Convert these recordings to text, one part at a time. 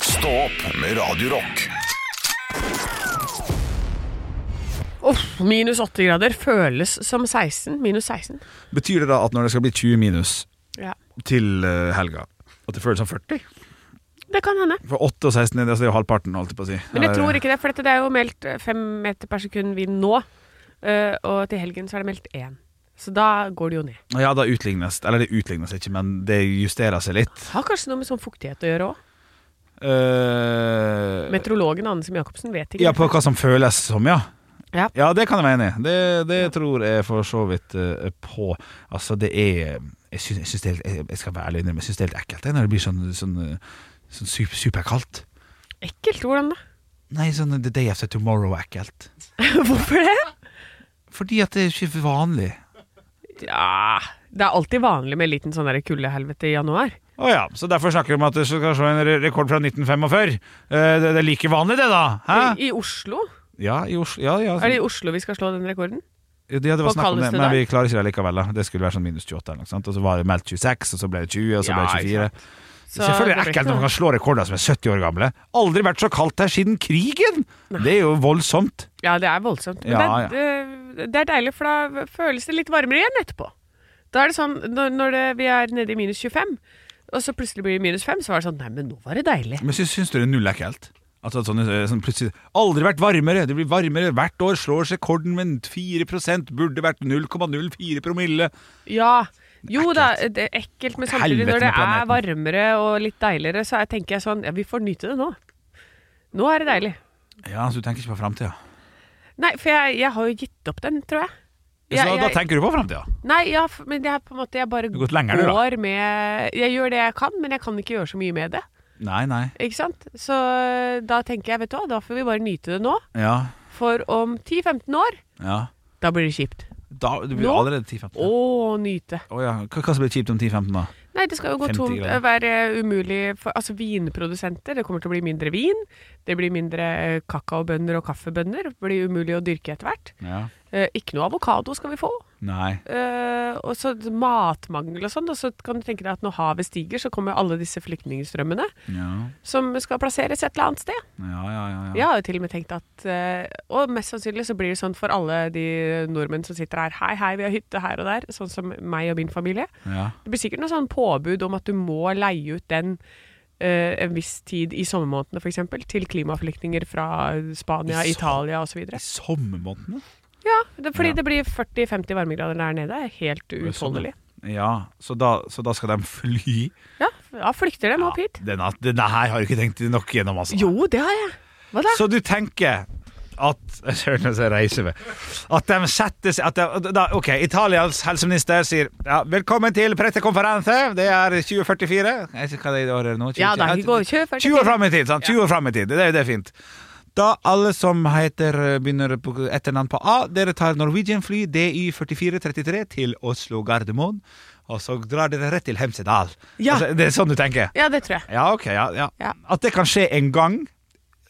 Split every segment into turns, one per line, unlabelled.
Stå opp med Radio Rock.
Uff, minus 8 grader føles som 16. Minus 16.
Betyr det da at når det skal bli 20 minus
Ja.
til eh, helga, at det føles som 40?
Det kan hende.
For 8 og 16 er det, altså det er jo halvparten, holdt jeg på å si.
Men jeg tror ikke det, for dette, det er jo meldt eh, fem meter per sekund vind nå. eh, Og til helgen så er det meldt én. Så da går det jo ned.
Eh, Ja, da utlignes Eller det utlignes ikke, men det justerer seg litt.
Har kanskje noe med sånn fuktighet å gjøre òg.
Eh,
Meteorologen Anne-Sim Jacobsen vet ikke.
ja, på hva som føles som, ja.
Ja.
det kan jeg være enig i. Det, det tror jeg for så vidt eh, på. Altså, det er Jeg syns, jeg syns det er helt jeg- Jeg skal være ærlig og innrømme, jeg syns det er helt ekkelt jeg, når det blir sånn, sånn, eh, sånn super, superkaldt.
Ekkelt, hvordan da?
Nei, sånn The Day After Tomorrow-ekkelt.
Hvorfor det?
Fordi at det er ikke vanlig.
Ja, det er alltid vanlig med en liten sånn der kuldehelvete i januar.
Å ja, så derfor snakker vi om at du skal se en re- rekord fra 1945. Eh, det, det er like vanlig, det, da. Hæ?
I, I Oslo?
Ja, i Oslo. Ja, ja.
Er det i Oslo vi skal slå den rekorden?
Ja, det var
På
snakk om det,
kaldeste
men
dag.
vi klarer ikke det likevel. da Det skulle være sånn minus 28, eller noe sånt. og så var det meldt 26, og så ble det 20, og så ble det
Ja,
24.
Så
Selvfølgelig er det
blir
ekkelt
ikke
når man
noe.
kan slå rekorder som er 70 år gamle. Aldri vært så kaldt her siden krigen! Det er jo voldsomt.
Ja, det er voldsomt. Men
Ja,
det, er- eh, det, det er deilig, for da føles det litt varmere igjen etterpå. Da er det sånn, når, når det, vi er nede i minus 25, og så plutselig blir det minus 5, så var det sånn Nei, men nå var det deilig.
Men syns, syns du det er null ekkelt? At at sånne, sånn plutselig Aldri vært varmere! Det blir varmere hvert år, slår rekorden med 4 burde vært 0,04 promille.
Ja. Jo da, det er ekkelt, men samtidig,
Helvete
når det
med planeten.
er varmere og litt deiligere, så er- tenker jeg sånn Ja, vi får nyte det nå. Nå er det deilig.
Ja, så du tenker ikke på framtida?
Nei, for jeg, jeg har jo gitt opp den, tror jeg.
Så
Jeg-
da
jeg-
tenker du på framtida?
Nei, ja, f- men jeg, på en måte, jeg bare
Du har gått lenger, du, da.
går med Jeg gjør det jeg kan, men jeg kan ikke gjøre så mye med det.
Nei, nei.
Ikke sant? Så eh, da tenker jeg, vet du hva, da får vi bare nyte det nå.
Ja.
For om 10-15 år,
ja.
da blir det kjipt.
Da, du blir
Nå?
allerede 10-15.
Å, nyte.
Å ja. Hva, hva som blir kjipt om 10-15, da?
Nei, det skal jo gå
50
tomt.
grader.
Være umulig for Altså, vinprodusenter. Det kommer til å bli mindre vin. Det blir mindre eh, kakaobønner og kaffebønner. Det blir umulig å dyrke etter hvert.
Ja.
Eh, ikke noe avokado skal vi få.
Nei.
Eh, og så matmangel og sånn. Og så kan du tenke deg at når havet stiger, så kommer alle disse flyktningstrømmene
Ja,
som skal plasseres et eller annet sted.
ja, ja. ja, ja.
Jeg har jo til og med tenkt at eh, Og mest sannsynlig så blir det sånn for alle de nordmenn som sitter her. Hei, hei, vi har hytte her og der. Sånn som meg og min familie.
Ja.
Det blir sikkert noe sånn påbud om at du må leie ut den eh, en viss tid i sommermånedene f.eks. til klimaflyktninger fra Spania,
I som-
Italia osv.
I sommermånedene?
Ja, det, fordi
Ja.
det blir 40-50 varmegrader der nede. Det er Helt
er sånn,
uutholdelig.
Ja, så da, så da skal de fly?
Ja, da flykter dem opp
Ja,
hit.
denne, denne her har du ikke tenkt nok gjennom, altså.
Jo, det har jeg. Hva da?
Så du tenker at Søren, altså, jeg reiser meg. At de setter seg at de, da, OK, Italias helseminister sier ja, 'Velkommen til pressekonferanse'. Det er 2044. Jeg vet ikke hva det er i år nå. 20,
Ja da, vi går 2044.
20 år fram i tid. Sant? 20 år frem i tid. Det, er- det er fint. Da alle som heter begynner på etternavn på A, dere tar Norwegian-fly DY4433 til Oslo Gardermoen. Og så drar dere rett til Hemsedal.
Ja.
Altså, det er sånn du tenker?
Ja, det tror jeg.
Ja, ok, ja, ja.
Ja.
At det kan skje en gang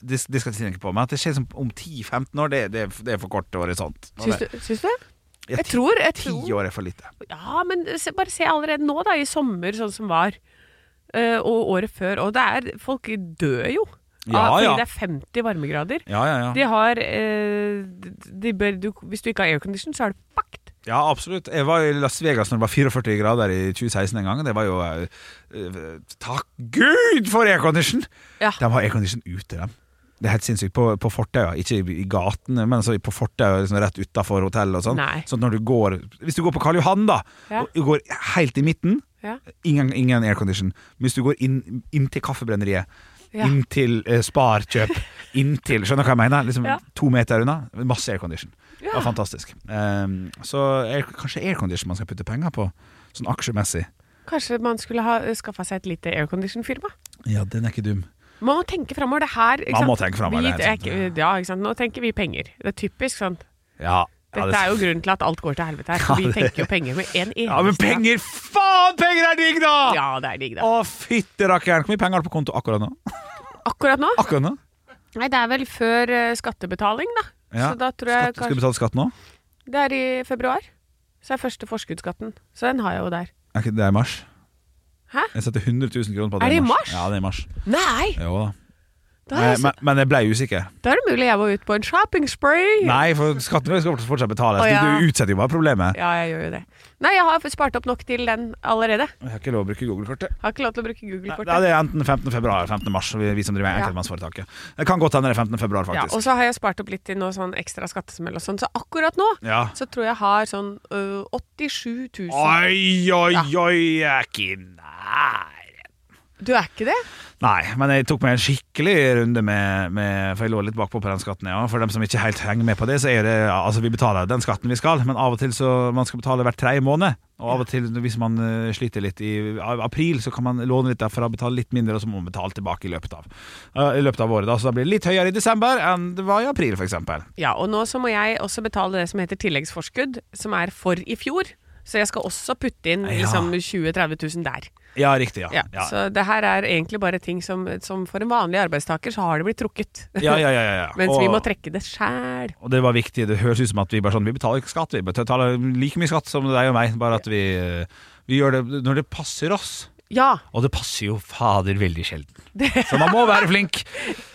det, det skal jeg ikke tenke på, men at det skjer som om 10-15 år, det, det, det er for kort horisont. Og
Syns
det-
du? Syns du?
ja,
Jeg
ti-
tror, jeg
Ti
tror
år er for lite.
Ja, men se, bare se allerede nå, da, i sommer, sånn som var. eh, og året før. Og det er Folk dør jo.
Ja,
av- fordi
ja.
det er 50 varmegrader.
Ja, ja, ja.
De har eh, de bør, du, Hvis du ikke har aircondition, så er det fucked.
Ja, absolutt. Jeg var i Las Vegas når det var 44 grader i 2016 en gang. og Det var jo eh, eh, Takk Gud for aircondition!
Ja.
De har aircondition ute, dem. Det er helt sinnssykt. På, på fortauene, ikke i i gatene, men altså på fortauet liksom rett utafor hotellet og sånn.
Nei.
Sånn at når du går Hvis du går på Karl Johan, da,
Ja.
og du går helt i midten,
Ja.
Ingen, ingen aircondition. Men hvis du går inn, inn til kaffebrenneriet,
Ja.
inn til eh, Sparkjøp, inn til Skjønner du hva jeg mener? Liksom
Ja.
To meter unna. Masse aircondition. Det
Ja.
var fantastisk. Um, så air, kanskje aircondition man skal putte penger på, sånn aksjemessig.
Kanskje man skulle ha skaffa seg et lite aircondition-firma?
Ja, den er ikke dum.
Man må tenke framover. Det her ikke
Man må
sant?
tenke fremover,
Vi,
det er helt
ikke-
sant.
ja, ikke sant? Nå tenker vi penger. Det er typisk sånn.
Ja, ja,
Dette
det-
er jo grunnen til at alt går til helvete her. For
Ja,
vi
det-
tenker jo penger med en eneste
ja, men penger! Faen, penger er digg, da!
Ja, det er digg, da.
Å, fytte rakkeren. Hvor mye penger har du på konto akkurat nå?
Akkurat nå
Akkurat nå?
Nei, det er vel før eh, skattebetaling, da.
Ja,
Så da tror jeg
Skatt, skal du betale skatt nå?
kanskje Det er i februar. Så er første forskuddsskatten. Så den har jeg jo der.
Er ikke det er i mars?
Hæ?
Jeg setter 100 000 kroner på
Er
det
det i mars?
Ja, det er i mars.
Nei!
Jo da.
Da er,
Men,
jeg,
men, men jeg ble usikker.
så- da er det mulig jeg må ut på en shopping spree.
Nei, for skatten skal fortsatt betales.
Å, ja.
Du, du utsetter jo bare problemet.
Ja, jeg gjør jo det. Nei, jeg har spart opp nok til den allerede.
Jeg har ikke lov å bruke Google-kortet.
Har ikke lov til å bruke
Nei,
Google-kortet.
da er det enten 15. februar eller 15. mars. Vi, vi som driver med
Ja.
enkeltmannsforetaket. Det kan godt hende det er 15. februar,
Ja, og
faktisk.
så har jeg spart opp litt til noe sånn ekstra skattesmell og sånn, så akkurat nå
Ja.
så tror jeg jeg har sånn øh, 87 000.
Oi, oi, oi, jeg er ikke nær.
Du er ikke det?
Nei, men jeg tok meg en skikkelig runde med, med For jeg lå litt bakpå på den skatten, ja. For dem som ikke helt henger med på det, så er det ja, Altså, vi betaler den skatten vi skal, men av og til så Man skal betale hver tredje måned. Og av og til, hvis man eh, sliter litt i av- april, så kan man låne litt derfra, betale litt mindre, og så må man betale tilbake i løpet av, eh, i løpet av året. Da. Så da blir det litt høyere i desember enn det var i april, f.eks.
Ja, og nå så må jeg også betale det som heter tilleggsforskudd, som er for i fjor. Så jeg skal også putte inn
Ja.
liksom 20 000-30 000 der.
Ja, riktig.
Ja, Så det her er egentlig bare ting som, som for en vanlig arbeidstaker så har det blitt trukket.
Ja, ja, ja, ja, ja.
Mens vi
Og-
må trekke det sjæl.
Og det var viktig. Det høres ut som at vi bare sånn Vi betaler ikke skatt. Vi betaler like mye skatt som deg og meg, bare at vi, eh, vi gjør det når det passer oss.
Ja,
Og det passer jo fader veldig sjelden. Så man må være flink.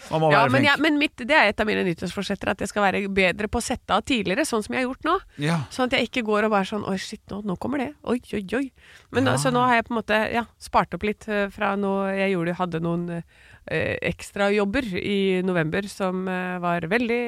Man må
ja,
være
men,
flink.
jeg, men mitt, det er et av mine nyttårsforsetter, at jeg skal være bedre på å sette av tidligere, sånn som jeg har gjort nå.
Ja.
Sånn at jeg ikke går og bare sånn Oi, shit, nå, nå kommer det. Oi, oi, oi. Men Så nå har jeg på en måte ja, spart opp litt eh, fra når jeg gjorde, hadde noen eh, ekstrajobber i november som eh, var veldig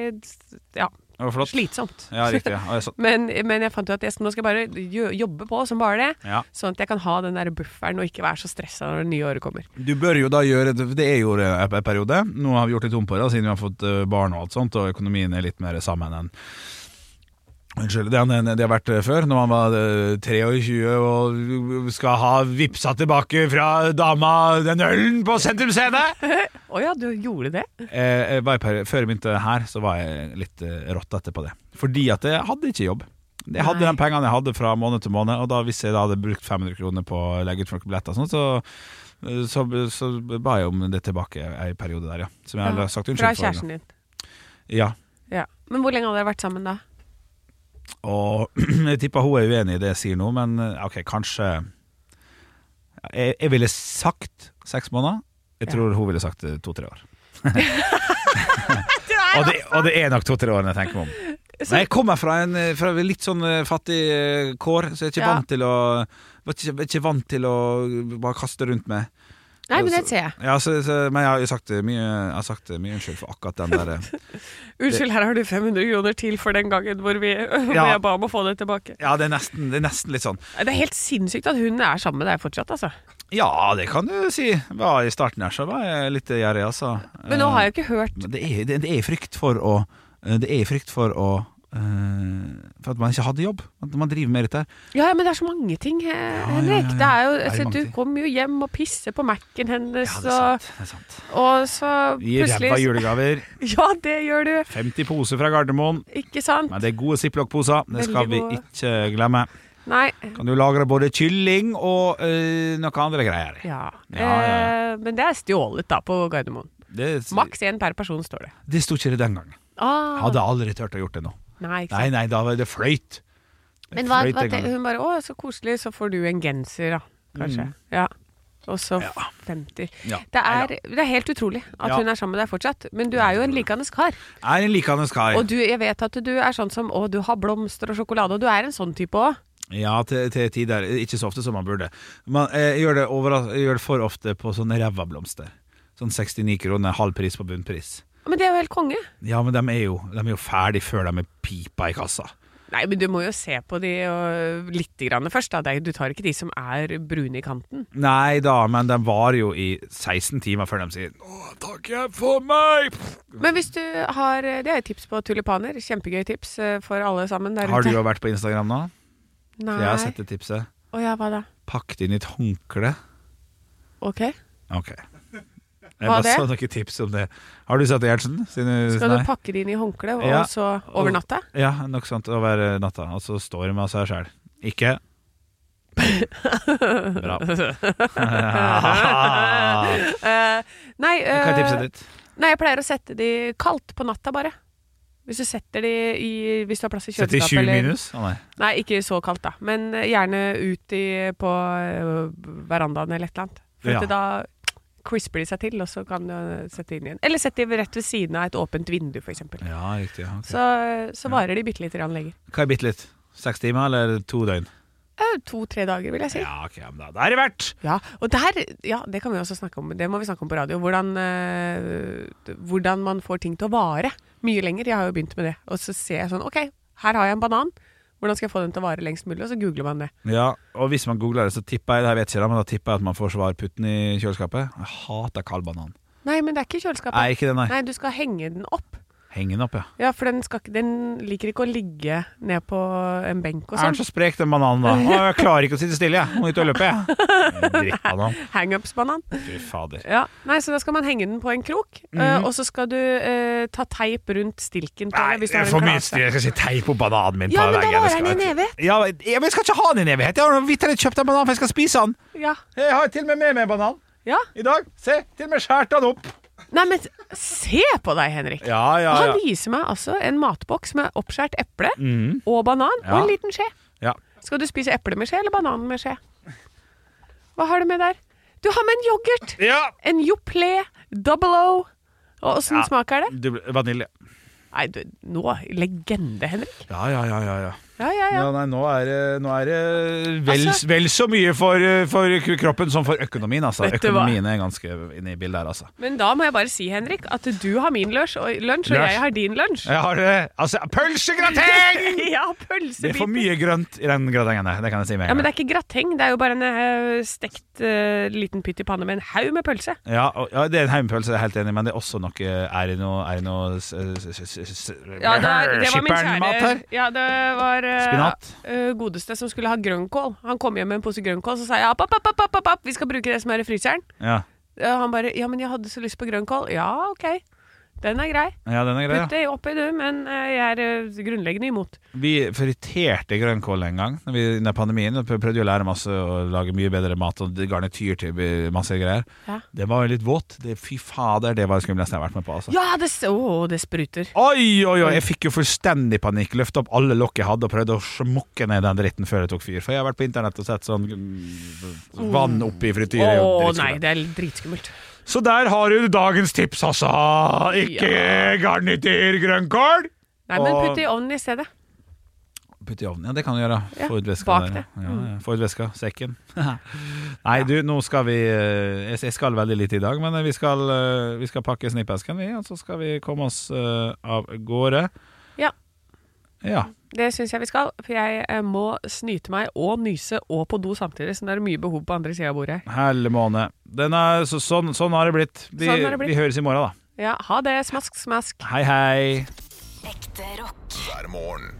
ja,
Det var flott.
slitsomt.
Ja, riktig. Ja, Og jeg sa-
men, men jeg fant ut at jeg, skal- nå skal jeg bare jo- jobbe på som bare det.
Ja.
Sånn at jeg kan ha den der bufferen og ikke være så stressa når det nye året kommer.
Du bør jo da gjøre Det det er jo en en periode. Nå har vi gjort litt om på det, siden vi har fått eh, barn og alt sånt, og økonomien er litt mer sammen enn Unnskyld, det han- det har vært eh, før, når man var eh, 23 og skal ha vipsa tilbake fra dama den ølen på Sentrum Scene.
Å ja, du gjorde det?
Eh, jeg var i peri- før jeg begynte her, så var jeg litt eh, rått etterpå det. Fordi at jeg hadde ikke jobb. Jeg hadde
Nei.
de pengene jeg hadde fra måned til måned, og da hvis jeg da hadde brukt 500 kroner på å legge ut folk billetter og sånt, så, eh, så, så ba jeg om det tilbake ei periode der, ja. Som jeg
Ja,
har sagt
Fra
unnskyld for.
kjæresten din.
Ja.
Ja. Men hvor lenge hadde dere vært sammen da?
Og jeg tipper hun er uenig i det jeg sier nå, men eh, ok, kanskje Jeg, jeg ville sagt seks måneder. Jeg
Ja.
tror hun ville sagt eh, to-tre år. Og det, og det er nok to-tre årene jeg tenker meg om.
Så-
Men jeg kommer fra en eh, fra en litt sånn eh, fattig eh, kår, så jeg er ikke
Ja.
vant til å var ikke, var ikke vant til å bare kaste rundt med.
Nei, men det ser jeg.
Ja, så, så, men jeg har jo sagt eh, mye, jeg har sagt eh, mye unnskyld for akkurat den der eh.
Unnskyld, her har du 500 kroner til for den gangen hvor, vi, hvor
Ja.
jeg ba om å få det tilbake.
Ja, det er nesten, det er nesten litt sånn.
Det er helt sinnssykt at hun er sammen med deg fortsatt, altså.
Ja, det kan du si. Var I starten her så var jeg litt gjerrig, altså. Eh,
Men nå har jeg jo ikke hørt
Men det er, det, det er frykt for å eh, Det er frykt for å eh, For at man ikke hadde jobb. At man driver med dette her.
Ja, ja, men det er så mange ting, eh,
ja, ja, ja.
Henrik. Det er jo,
Det er
altså,
mange
du
ting.
kommer jo hjem og pisser på Mac-en hennes,
Ja, det er
og,
sant. Det er sant.
og så
Gi ræva
plutselig
julegaver.
Ja, det gjør du.
50 poser fra Gardermoen.
Ikke sant?
Men det er gode ziplock-poser, det skal
Veldig
vi
gode.
ikke glemme.
Nei.
Kan du lagre både kylling og eh, noe andre greier.
Ja.
Ja, ja,
Eh, men det er stjålet, da, på Gardermoen.
Det,
Maks én per person, står det.
det sto ikke det den gangen.
Ah,
Hadde aldri turt å gjort det nå.
nei, ikke sant.
Nei, nei, da var det fløyt. Det
Men hva,
fløyt
hva
den
te-
gangen.
hun bare 'Å, så koselig, så får du en genser, da', kanskje. Ja. Og så
Mm. Ja.
50.
Ja.
Det
Nei da.
er, det er helt utrolig at
Ja.
hun er sammen med deg fortsatt, men du er jo en likende kar.
Er en likende kar.
Og du, jeg vet at du er sånn som 'Å, du har blomster og sjokolade', og du er en sånn type òg.
Ja, til, til tider. Ikke så ofte som man burde. Man eh, jeg gjør, det overras- jeg gjør det for ofte på sånne ræva blomster. Sånn 69 kroner, halv pris på bunnpris.
Men det er jo helt konge.
Ja, men de er jo, de er jo ferdig før de er pipa i kassa.
Nei, men du må jo se på de og lite grann først, da. Det er- Du tar ikke de som er brune i kanten.
Nei da, men den varer jo i 16 timer før de sier Å, takker jeg for meg!
Men hvis du har Det er et tips på tulipaner. Kjempegøy tips eh, for alle sammen der ute.
Har du jo vært på Instagram nå?
Nei.
Jeg har sett det tipset.
Å ja, hva da?
Pakk det inn i et håndkle.
Ok.
Ok. Jeg
Hva
bare
er det?
så noen tips om det. Har du sett det, Gjertsen? Siden
Skal du
nei.
pakke det inn i håndkle, og
Ja.
så over natta?
Ja, nok sånt over eh, natta. Og så står det med seg sjæl. Ikke Bra. Hva
Eh, nei,
er
eh,
tipset ditt?
nei, jeg pleier å sette de kaldt på natta, bare. Hvis du setter de i Hvis du har plass i
Sett i
kjøleskapet.
20
eller-
minus? Å nei.
Nei, ikke så kaldt, da. Men eh, gjerne ut i, på eh, verandaen eller et eller annet. For
Ja.
at det da crisper de seg til, og så kan du eh, sette inn igjen. Eller sett de rett ved siden av et åpent vindu, f.eks.
Ja, riktig. ja, ok.
Så, så varer de bitte lite grann lenger.
Hva er bitte litt? Seks timer eller to døgn?
Eh, To-tre dager, vil jeg si. Ja.
Ja, ok, men da, da er det verdt!
og der, ja, Det kan vi også snakke om, det må vi snakke om på radio. Hvordan, eh, hvordan man får ting til å vare mye lenger. Jeg har jo begynt med det. Og så ser jeg sånn OK, her har jeg en banan. Hvordan skal jeg få den til å vare lengst mulig? Og så googler man det.
Ja, og hvis man googler det, så tipper jeg det, jeg vet ikke det, men da tipper jeg at man får svar putten i kjøleskapet. Jeg hater kald banan.
Nei, men det er ikke i kjøleskapet.
Nei, ikke det, nei.
Nei, du skal henge den opp.
Heng den opp, ja.
Ja, for den, skal, ikke- den liker ikke å ligge ned på en benk og
Er den
sånn.
så sprek, den bananen, da? Å, jeg klarer ikke å sitte stille, jeg. Må ut og løpe, jeg. Drittbanan.
Hangups-banan.
Fy fader.
Ja, nei, så da skal man henge den på en krok, eh, og så skal du eh, ta teip rundt stilken. på
Mhm. Nei,
den
det
hvis du har
er
en
for mye
klase.
styr. Jeg skal si teip på bananen min. på
Ja, men da
veggen. Jeg
varer
skal-
den i en evighet.
Ja, men jeg men jeg skal ikke ha den i en evighet. Jeg har vitterlig kjøpt en banan, for jeg skal spise den.
Ja,
Jeg har til og med med meg banan
ja.
i dag. Se, til og med skjært den opp.
Nei, men se på deg, Henrik.
Ja, ja,
Han
ja. Mm.
viser meg altså en matboks med oppskjært eple
Mhm.
og banan
Ja.
og en liten skje.
ja.
Skal du spise eple med skje eller banan med skje? Hva har du med der? Du har med en yoghurt!
ja.
En Joplé Double O. Og åssen
Ja.
smak er det?
Du, vanilje.
Nei, du, nå Legende, Henrik.
Ja, ja, ja, ja, ja.
Ja, ja, ja.
Ja, nei, nå er det, nå er det vel,
Altså-
vel så mye for, eh, for kroppen som for økonomien, altså.
Vet du hva?
Økonomien er ganske inne i bildet her, altså.
Men da må jeg bare si, Henrik, at du har min lunsj, og, lunsj, og
Lunsj.
jeg har din lunsj.
Jeg har eh, altså, pølsegrateng!
ja,
Det er for
pølsebiter.
mye grønt i den gratengen der, det kan jeg si med
Ja,
en
men
gang.
det er ikke grateng, det er jo bare en eh, stekt eh, liten pytt i panne med en haug med pølse.
Ja, og, ja, det er en heimepølse, jeg er helt enig, men det er også noe Er det noe, er det noe s- s- s- s- s-
Ja, det, er, det var min
skipper'n-mat
kjære
her?
Ja, det var eh,
Spinat?
eh, godeste som skulle ha grønnkål. Han kom hjem med en pose grønnkål, så sa jeg app, app, app, app, app, app, vi skal bruke det som er i fryseren.
Ja.
Eh, han bare ja, men jeg hadde så lyst på grønnkål. Ja, OK. Den er grei.
ja, den er grei.
Putt
Ja.
det oppi du, men eh, jeg er eh, grunnleggende imot.
Vi friterte grønnkål en gang når vi, under pandemien. og Prøvde å lære masse å lage mye bedre mat og garnityr til masse greier.
Ja,
Det var litt våt. Det, fy fader, det var det skumleste jeg har vært med på. Altså.
det, s- å, det spruter.
Oi, oi, oi, jeg fikk jo fullstendig panikk. Løfta opp alle lokk jeg hadde og prøvde å smokke ned den dritten før det tok fyr. For jeg har vært på internett og sett sånn mm, vann oppi
Å
frityret. og
nei,
dritskummelt.
det er dritskummelt.
Så der har du dagens tips, altså. Ikke garnityr grønnkål.
Nei, men
Og-
putt det i ovnen i stedet.
Putt i ovnen, ja det kan du gjøre.
Ja,
Få ut væska.
bak
der,
det. Mm.
ja. Ja, ja. Få ut væska, sekken. Nei, du, nå skal vi eh, Jeg jeg skal veldig lite i dag, men eh, vi skal, eh, vi skal pakke snippesken, vi. Og så skal vi komme oss eh, av gårde.
Ja.
Ja.
Det syns jeg vi skal, for jeg eh, må snyte meg og nyse og på do samtidig, så det er mye behov på andre sida av bordet her.
Helle måne. Den er, så, sånn, sånn har det blitt. Vi,
Sånn har det blitt.
vi høres i morgen, da.
Ja, ha det. Smask, smask.
Hei, hei.
Ekte rock.
hver morgen.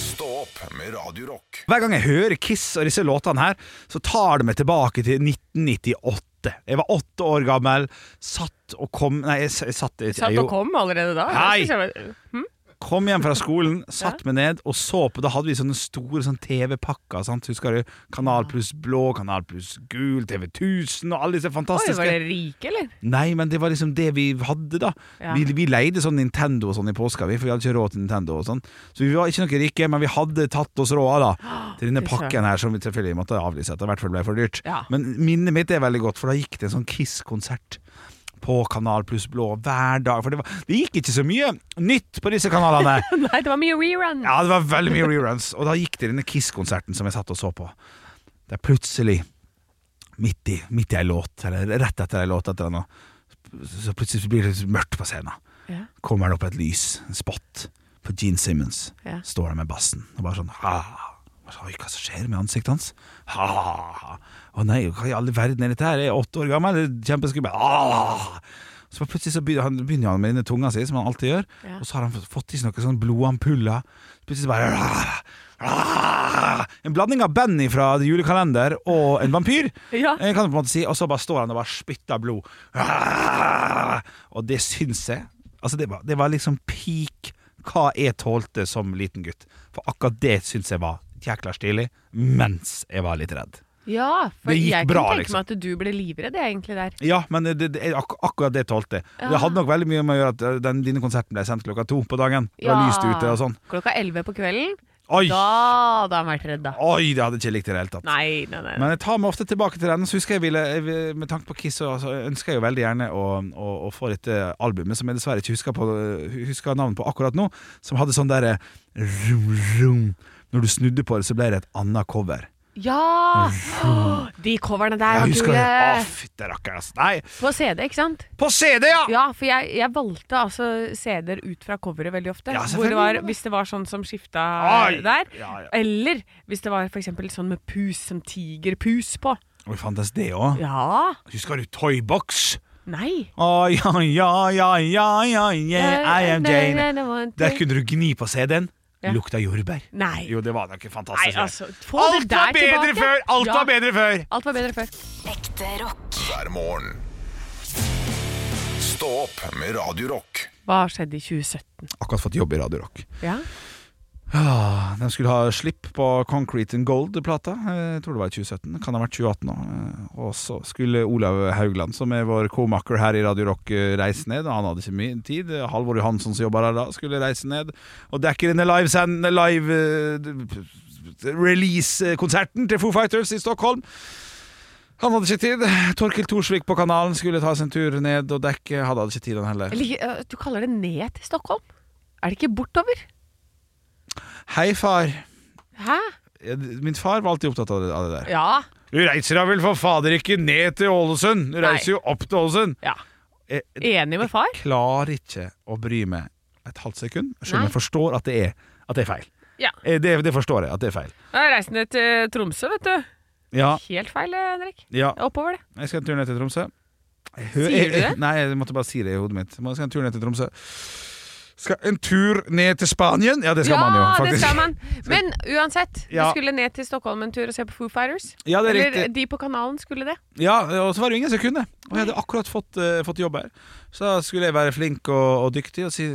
Stå opp med Radio Rock.
Hver gang jeg hører Kiss og disse låtene her, så tar det meg tilbake til 1998. Jeg var åtte år gammel, satt og kom Nei, jeg, s- jeg satt jeg-
Satt
jo-
og kom allerede da.
Hei!
Jeg synes jeg var- Hm?
Kom hjem fra skolen, satt meg ned og så på. Da hadde vi sånne store sånn TV-pakker. Sant? Husker du? Kanal pluss blå, Kanal pluss gul, TV 1000 og alle disse
Oi,
fantastiske
var dere rike, eller?
Nei, men det var liksom det vi hadde, da.
Ja.
Vi, vi leide sånn Nintendo og sånn i påska, vi, for vi hadde ikke råd til Nintendo. og sånn Så vi var ikke noe rike, men vi hadde tatt oss råd da til denne
fy
pakken her, som vi selvfølgelig måtte avlyse etter hvert, for det ble for dyrt.
Ja.
Men minnet mitt er veldig godt, for da gikk det en sånn Kiss-konsert. På Kanal pluss blå hver dag. For det, var, det gikk ikke så mye nytt på disse kanalene.
Nei, det var mye rerun.
Ja, det var veldig mye reruns. Og da gikk det denne Kiss-konserten som jeg satt og så på. Det er plutselig, midt i, midt i ei låt, eller rett etter ei låt etter noe, så plutselig blir det mørkt på scenen.
Ja.
Kommer det opp et lys, en spot, på Gene Simmons.
Ja.
Står der med bassen og bare sånn ha. Og så, Oi, hva som skjer med ansiktet hans? Ha. Å nei, hva i all verden er dette her? Jeg er åtte år gammel, det er kjempeskummelt. Ha. Så bare plutselig så begynner han, begynner han med denne tunga si, som han alltid gjør.
Ja.
Og så har han fått- fått i seg noen sånne blodampuller. Plutselig så bare En blanding av Benny fra The Julekalender og en vampyr.
Ja.
Jeg kan på en måte si Og så bare står han og bare spytter blod. Ah! Og det syns jeg Altså det var, det var liksom peak hva jeg tålte som liten gutt. For akkurat det syns jeg var jækla stilig, mens jeg var litt redd.
Ja, for
Det gikk
jeg
bra,
kunne tenke
liksom.
meg at du ble livredd jeg, egentlig der.
Ja, men det, det, jeg- ak akkurat det tålte jeg. Og Det hadde nok veldig mye med å gjøre at eh, den, dine konserten ble sendt klokka to på dagen. Det var lyst ute og sånn.
Klokka elleve på kvelden.
Oi!
Da hadde han vært redd, da.
Oi, det hadde jeg ikke likt i det hele tatt.
Nei, nei, nei.
Men jeg tar meg ofte tilbake til den. Så husker jeg ville, jeg vil- Med tanke på Kiss så altså, ønsker jeg jo veldig gjerne å, å, å få dette albumet, som jeg dessverre ikke husker, på, husker navnet på akkurat nå, som hadde sånn derre rum, rum. Når du snudde på det, så ble det et annet cover.
Ja!
De coverne der
Jeg
var
husker det. Å,
kule.
fytte rakkeren. altså. Nei!
På CD, ikke sant?
På CD, ja!
Ja, for jeg, jeg valgte altså CD-er ut fra coveret veldig ofte.
Ja,
hvor det var,
selvfølgelig.
hvis det var sånn som skifta
Oi.
der.
Ja, ja.
Eller hvis det var for eksempel sånn med pus, som tigerpus på.
Oi, fantes det òg?
Ja.
Husker du Toybox?
Nei.
Å, ja, ja, ja, ja, ja, yeah, Eh, I
Eh,
am Jane.
Nei, nei, nei, nei,
Der kunne du gni på CD-en.
Ja.
Lukta jordbær.
Nei.
Jo, det var nok en fantastisk.
Nei,
greie.
altså, få
Alt
det
var
der
bedre
tilbake.
før! Alt
Ja,
var bedre før!
Alt var bedre før.
Ekte rock.
hver morgen. Stå opp med Radio Rock.
Hva skjedde i 2017?
Akkurat fått jobb i Radio Rock.
Ja.
Ah, De skulle ha slipp på Concrete and Gold-plata. Eh, Jeg tror det var i 2017. Kan ha vært 2018 òg. Og så skulle Olav Haugland, som er vår komaker her i Radio Rock, eh, reise ned. Han hadde ikke mye tid. Halvor Johansson, som jobber her da, skulle reise ned og dekke denne livesend- live eh, d- release-konserten til Foo Fighters i Stockholm. Han hadde ikke tid. Torkil Thorsvik på kanalen skulle ta seg en tur ned og dekke. Han hadde ikke tid, han heller.
Jeg liker, øh, du kaller det ned til Stockholm? Er det ikke bortover?
Hei, far.
Hæ?
Ja, d- Min far var alltid opptatt av det, av det der.
Ja.
Du reiser da vel for fader ikke ned til Ålesund? Du
Nei.
reiser jo opp til Ålesund.
ja.
Jeg, jeg
Enig med far?
klarer ikke å bry meg et halvt sekund, selv om
Nei.
jeg forstår at det er, at det er feil.
Ja.
Eh, Det, det forstår jeg, at det er feil.
Jeg reiste ned til Tromsø, vet du.
Ja,
Helt feil, eh, Henrik.
ja.
Oppover det.
Jeg skal en tur ned til Tromsø. Jeg hø-
Sier du det?
jeg- Nei, jeg måtte bare si det i hodet mitt. Jeg skal en tur ned til Tromsø. Skal en tur ned til Spanien? Ja, det skal
ja,
man jo, faktisk.
det skal man. Men uansett,
Ja.
du skulle ned til Stockholm en tur og se på Foo Fighters.
Ja, det er
Eller
riktig.
de på kanalen skulle det.
Ja, og så var det jo ingen som kunne. Og jeg hadde akkurat fått, eh, fått jobb her. Så da skulle jeg være flink og, og dyktig og si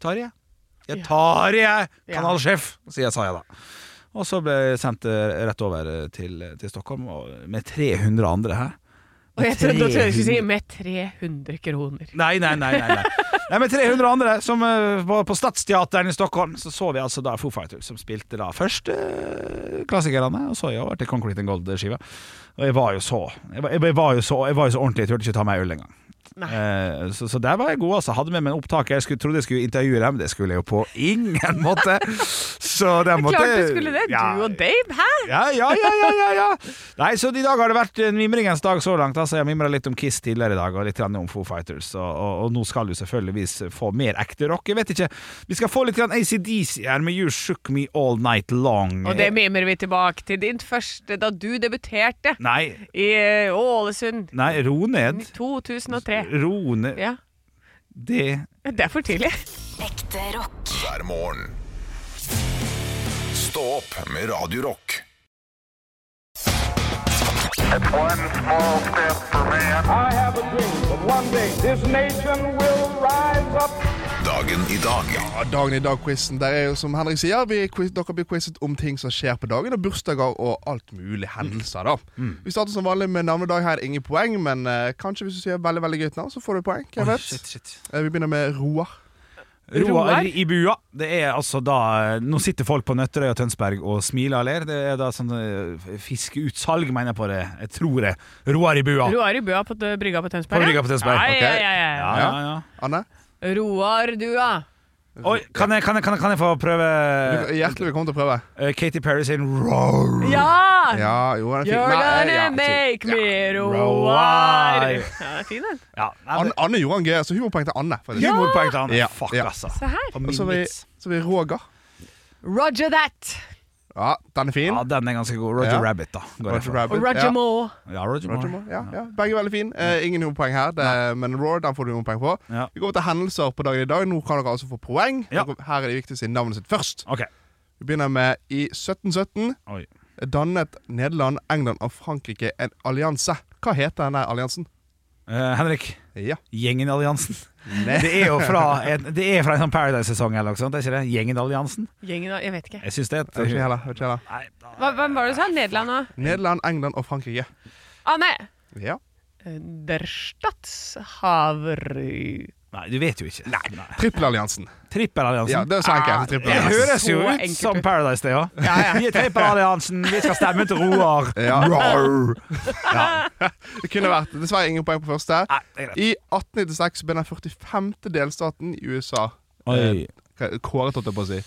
Tarjei. Jeg tar jeg, kanalsjef, sier jeg, sa jeg da. Og så ble jeg sendt eh, rett over eh, til, til Stockholm og med 300 andre her.
Og jeg trodde at du skulle si
300.
med 300 kroner.
Nei, nei, nei. nei, nei. nei med 300 andre som eh, var på Stadsteateren i Stockholm. Så så vi altså da Foo Fighters, som spilte da først eh, klassikerne, og så i år til Concrete and Gold-skiva. Og jeg var jo så Jeg var, jeg var, jo, så, jeg var jo så ordentlig, jeg turte ikke ta meg øl engang. Eh, så, så der var jeg god, altså. Hadde med meg en opptaker. Jeg skulle, trodde jeg skulle intervjue dem, det skulle jeg jo på ingen måte. Så der måtte
Klart du skulle det.
Ja,
Du og Dave, hæ?
ja, ja, ja, ja, ja, ja. Nei, så i dag har det vært en mimringens dag så langt. Altså, jeg mimra litt om Kiss tidligere i dag, og litt grann om Foo Fighters. Og, og, og nå skal du selvfølgeligvis få mer ekte rock. Jeg vet ikke. Vi skal få litt grann ACDC her med You Shook Me All Night Long.
Og det mimer vi tilbake til din første, da du debuterte
Nei,
i eh, Ålesund.
nei, ro ned.
2003.
Ro ned.
Ja.
Det
Det er for tidlig.
Ekte rock.
hver morgen. Stå opp med Radio Rock.
One small step for man.
I have a dream that one day this nation will rise up.
Dagen i dag
Ja, Dagen i dag-quizen der er jo som Henrik sier, vi quiz, dere blir quizet om ting som skjer på dagen, og bursdager og alt mulig hendelser. da.
Mm.
Vi starter som vanlig med navnedag her, ingen poeng, men eh, kanskje hvis du sier veldig veldig gøyt navn, så får du poeng. hvem
Oi,
vet?
shit, shit.
Eh, Vi begynner med Roar.
Roar
Roar?
i bua. Det er altså da Nå sitter folk på Nøtterøy og Tønsberg og smiler og ler. Det er da sånn eh, fiskeutsalg, mener jeg på det. Jeg tror det. Roar i bua.
Roar i bua på eh, brygga på Tønsberg.
På
ja?
brygga på Tønsberg.
Ja,
Ok.
ja, ja, ja, ja.
Ja, ja, ja.
Anne?
Roar, du, ja.
Oi, kan jeg, kan, jeg, kan, jeg, kan jeg få prøve
Du- Hjertelig velkommen til å prøve.
eh, Katy Perry sin Roar?
Ja!
Ja, jo, den er fin.
You're
Nei,
gonna
ja, fin.
make me
Roar.
Roar. Ja, det er fin den.
Ja, nei,
Anne,
det-
Anne gjorde han gøy, så humorpoeng til Anne. faktisk.
Humorpoeng til han.
Ja.
Fuck,
Ja.
altså.
Se her.
På min
Og så har vi,
vits.
så har vi Roger.
Roger that.
Ja, den er fin.
Ja, den er ganske god. Roger
Ja.
Rabbit, da. Går jeg
Roger
for.
Og
Rabbit.
Roger
ja.
Moore.
Ja, Roger
Roger
Moore.
Moore, ja, ja. Begge er veldig fine. Eh, ingen hovedpoeng her, det, men Roar den får du hovedpoeng på.
Ja.
Vi går over til hendelser på dagen i dag. Nå kan dere altså få poeng.
Ja.
Dere- Her er det viktig å si navnet sitt først.
Ok.
Vi begynner med i 1717
Oi.
dannet Nederland, England og Frankrike en allianse. Hva heter denne alliansen?
Eh, Henrik.
Ja.
Gjengen i Alliansen.
Nei.
Det er jo fra en, det er fra en sånn Paradise-sesong eller noe sånt. Er ikke det? Gjengen i Alliansen.
Gjengen av Jeg vet ikke.
Jeg syns det
Jeg
er
vet ikke
et
heller. jeg Vet ikke heller.
Nei, da-
Hva, hvem var det du sa? Nederland og
Nederland, England og Frankrike.
Ah, nei.
Ja.
Der Stadshaver
Nei, du vet jo ikke. Nei.
Trippelalliansen.
Trippelalliansen. Ah,
Ja, det er så enkelt.
Det
Trippelalliansen.
høres jo
Så
ut
enkelt
som
ut.
Paradise, det òg. Ja. Vi er Trippelalliansen, vi skal stemme til Roar.
Ja.
Roar.
Det kunne vært dessverre ingen poeng på første.
Nei, det er greit.
I 1896 ble den 45. delstaten i USA
Oi.
eh, kåret, holdt jeg på å si.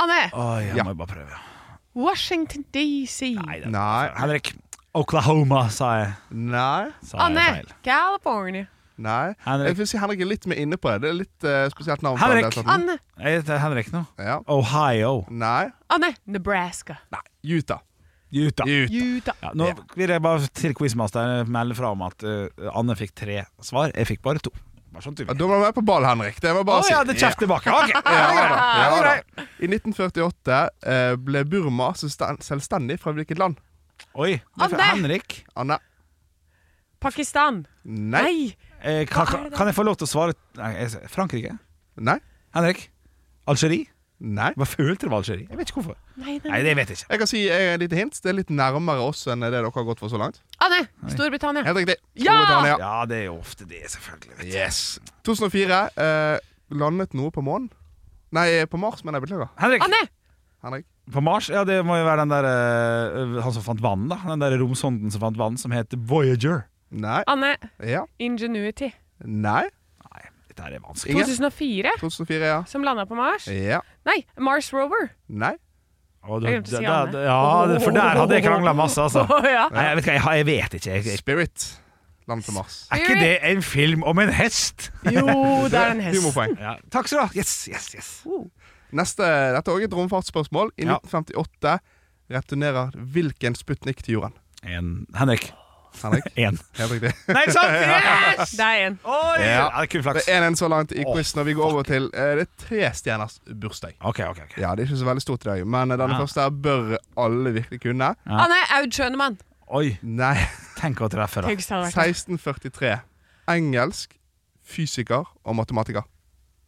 Anne!
Oi, jeg
Ja.
må jo bare prøve.
Washington DC.
Nei, det er
Nei.
Henrik. Oklahoma, sa jeg.
Nei.
Sa jeg
Anne!
feil.
California.
Nei.
Henrik.
Jeg vil si Henrik er litt mer inne på det. Det er litt eh, spesielt navn. på den
Henrik.
delstaten.
Anne!
Jeg heter Henrik nå.
sånn. Ja.
Ohio.
Nei.
Anne! Nebraska.
Utah.
Utah.
Utah.
Utah.
Ja, nå vil jeg bare til quizmaster melde fra om at eh, Anne fikk tre svar. Jeg fikk bare to. Bare sånn du
Ja,
vet.
Da må du være på ball, Henrik. Det var
Å
bare å si.
ja, det er kjeft tilbake. Ok. Ja, da.
Ja,
Ja,
ja,
grei.
da. I 1948 eh, ble Burma selvsten- selvstendig fra hvilket land?
Oi. det er fra
Anne!
Henrik.
Anne?
Pakistan.
Nei.
Nei!
Eh, ka, ka, kan jeg få lov til å svare Nei, jeg sier Frankrike?
Nei.
Henrik? Algerie?
Nei.
Hva følte du med Algerie? Jeg vet ikke hvorfor.
Nei, nei.
Nei, det vet jeg ikke.
Jeg kan si eh, et lite hint. Det er litt nærmere oss enn det dere har gått for så langt.
Anne! Storbritannia.
Helt riktig.
Ja!
Storbritannia.
Ja, det er jo ofte det, selvfølgelig. Vet du.
Yes. 2004 eh, landet noe på månen. Nei, eh, på Mars, mener jeg. Beklager.
Henrik,
Anne!
Henrik.
på Mars? Ja, det må jo være den der eh, Han som fant vann, da. Den der romsonden som fant vann, som heter Voyager.
Nei.
Anne!
Ja.
Ingenuity.
Nei.
Nei, dette her er vanskelig.
Ingen.
2004,
2004, ja.
som landa på Mars.
Ja.
Nei, Mars Rover.
Nei.
Å, du-
Jeg glemte å si
det-
Anne.
det- ja, det- for der hadde jeg krangla masse, altså.
Å, ja.
Nei, jeg vet ikke, jeg, har- jeg vet ikke. Jeg, jeg,
Spirit. Landet på Mars.
er ikke det en film om en hest?
Jo, det er en hest.
Humorpoeng.
Ja, takk skal du ha. Yes, yes, yes.
Neste, Dette er også et romfartsspørsmål. I
Ja.
1958 returnerer hvilken Sputnik til jorden?
En, Henrik.
Henrik?
Én.
Helt riktig.
Nei, sant? Yes!
Det er en.
Oi!
Ja. Eh,
Ja, det er kun
Det
flaks.
er en så langt i
Åh,
quizen, og vi går over til eh, det er tre stjerners bursdag.
Ok, ok, ok.
Ja, Det er ikke så veldig stort i dag, men eh, denne
Ja.
første her bør alle virkelig kunne.
Ja.
Anne Aud Schønemann.
Oi,
Nei.
tenk å treffe, da.
Tenk hvis det hadde vært det.
1643. Engelsk, fysiker og matematiker.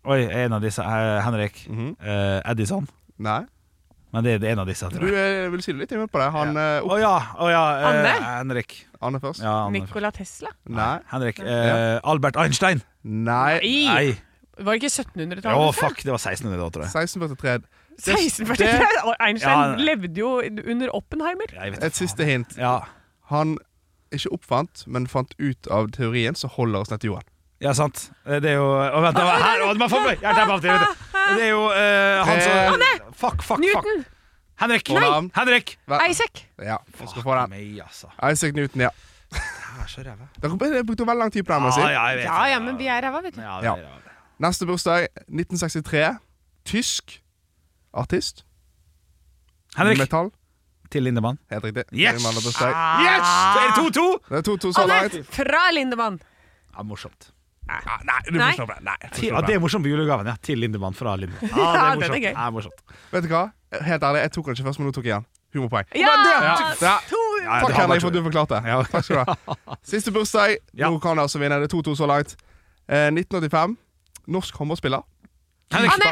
Oi, en av disse. eh, Henrik.
Mhm.
Eh, Edison.
Nei.
Men det er en av disse,
Du
tror jeg.
eh, vil si det litt inne på det. Han eh,
Å ja. Å ja. eh,
Anne?
Henrik.
Anne først.
Ja, Anne.
Nikola Tesla.
Nei.
Henrik. Eh, Albert Einstein.
Nei.
Nei!
Nei.
Var det ikke
Å,
1700-tallet? sa?
fuck. Det var 1600, da, tror jeg.
1643.
1643! Og Einstein
Ja.
levde jo under Oppenheimer.
Jeg vet
Et
faen.
siste hint.
Ja.
Han ikke oppfant, men fant ut av teorien som holder oss ned til jorden.
Ja, sant. Eh, Det er jo Å, vent, det var her! Å, man får meg hjertet av det, vet du. Det er jo eh, han
Eh,
som Fuck, fuck, fuck.
Newton!
Henrik!
Nei.
Henrik!
Vel,
Isaac!
ja, jeg skal få den.
Meg, altså.
Isaac Newton, ja.
Jeg er så ræva.
Dere brukte brukte veldig lang tid på den. må jeg
Ja,
si.
ja, jeg vet
Ja
det.
ja, men vi er ræva, vet du.
Ja,
Ja.
vi er ræva.
Neste bursdag 1963. Tysk artist.
Henrik.
Metall.
Til Lindemann.
Helt riktig.
Yes!
Mange andre bursdag.
Ah.
Yes! Så er det 2-2!
Det er to, to så langt.
Anne fra Lindemann.
Ja, morsomt.
Ja, Nei, du
Nei.
får slappe av. Nei, du får
Til, ja,
slappe av.
det er morsomt med julegaven, ja. Til Lindemann fra Lindemann. Ja,
Ja,
det er
den
morsomt.
er gøy.
Ja, morsomt.
Vet du hva? Helt ærlig, jeg tok den ikke først, men nå tok jeg den. Humorpoeng.
Ja!
Ja.
To
Ja,
Takk,
det har vært-
Henrik, for at du forklarte. Takk skal du ha. Siste bursdag.
Ja.
Nå kan jeg altså vinne. Det er 2-2 så langt. Eh, 1985. Norsk håndballspiller.
Henrik.
Anne!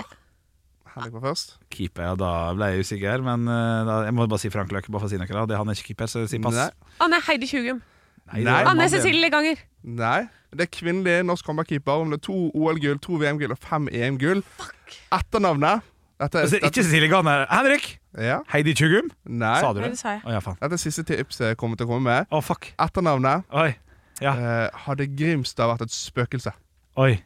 Henrik var først.
Keeper, ja, da ble jeg usikker, men eh, da, jeg må bare si Frank Løkke. Bare for å si noe, da. Det, han er ikke keeper, så jeg sier pass.
Nei.
Anne Heidi Tjugum.
Nei, det
Nei.
er
Anne
mannen.
Cecilie Ganger.
Nei. Det er kvinnelig norsk håndballkeeper. Hun har to OL-gull, to VM-gull og fem EM-gull. Etternavnet dette,
Altså,
dette,
ikke Cecilie Ganer. Henrik!
ja.
Heidi Tjugum,
Nei.
sa du
Nei,
det?
det sa jeg.
Å ja, faen.
Dette er siste tips jeg kommer til å komme med.
Å, fuck.
Etternavnet
Oi. Ja.
eh, hadde Grimstad vært et spøkelse.
Oi.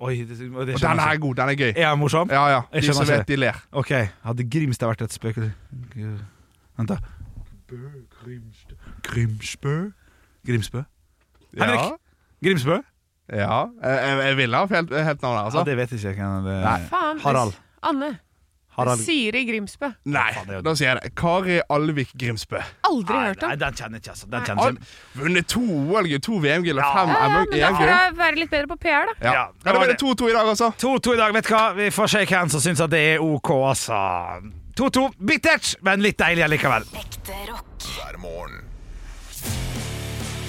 Oi, det, det, det
Og den
skjønner
her
jeg
er god. Den er
ikke.
gøy.
Er jeg morsom?
Ja, ja.
Jeg
De
skjønner
som
ikke
vet, de ler.
Ok, hadde Grimstad vært et spøkelse Gud. Vent da Bø, Grimstad Grimsbø Grimsbø Henrik? Grimsbø?
Ja. Eh, Jeg, jeg ville ha helt, helt navnet,
Altså,
altså.
det vet jeg ikke hvem det...
Nei.
Faen. det-
Harald.
Anne.
Harald
Siri Grimsbø.
Nei,
Faen, det er jo-
da sier jeg det. Kari Alvik Grimsbø.
Aldri
Nei,
hørt om.
Nei, den kjenner jeg ikke altså. Den
Har
kjenner jeg
vunnet to OL-gull, to VM-gull og
Ja.
fem
Ja, ja, men da får
EM-gull.
jeg være litt bedre på PR, da.
Ja.
Ja,
Ja,
det
det
var det.
ble 2-2 i dag, altså.
2-2 i dag, vet du hva? Vi får shake hands og synes at det er ok altså 2-2, bittert, men litt deilig allikevel
Ekte rock.
hver morgen.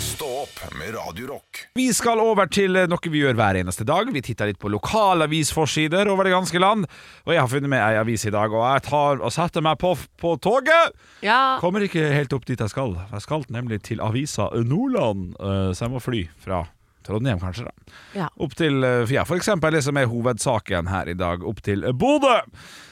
Stå opp med Radio Rock.
Vi skal over til eh, noe vi gjør hver eneste dag. Vi titter litt på lokalavisforsider over det ganske land. Og jeg har funnet meg ei avis i dag, og jeg tar og setter meg på, på toget.
Ja.
Kommer ikke helt opp dit jeg skal. Jeg skal nemlig til avisa Nordland, eh, så jeg må fly fra Trondheim, kanskje. da
Ja.
Opp til, eh, ja, For eksempel det som er hovedsaken her i dag, opp til Bodø.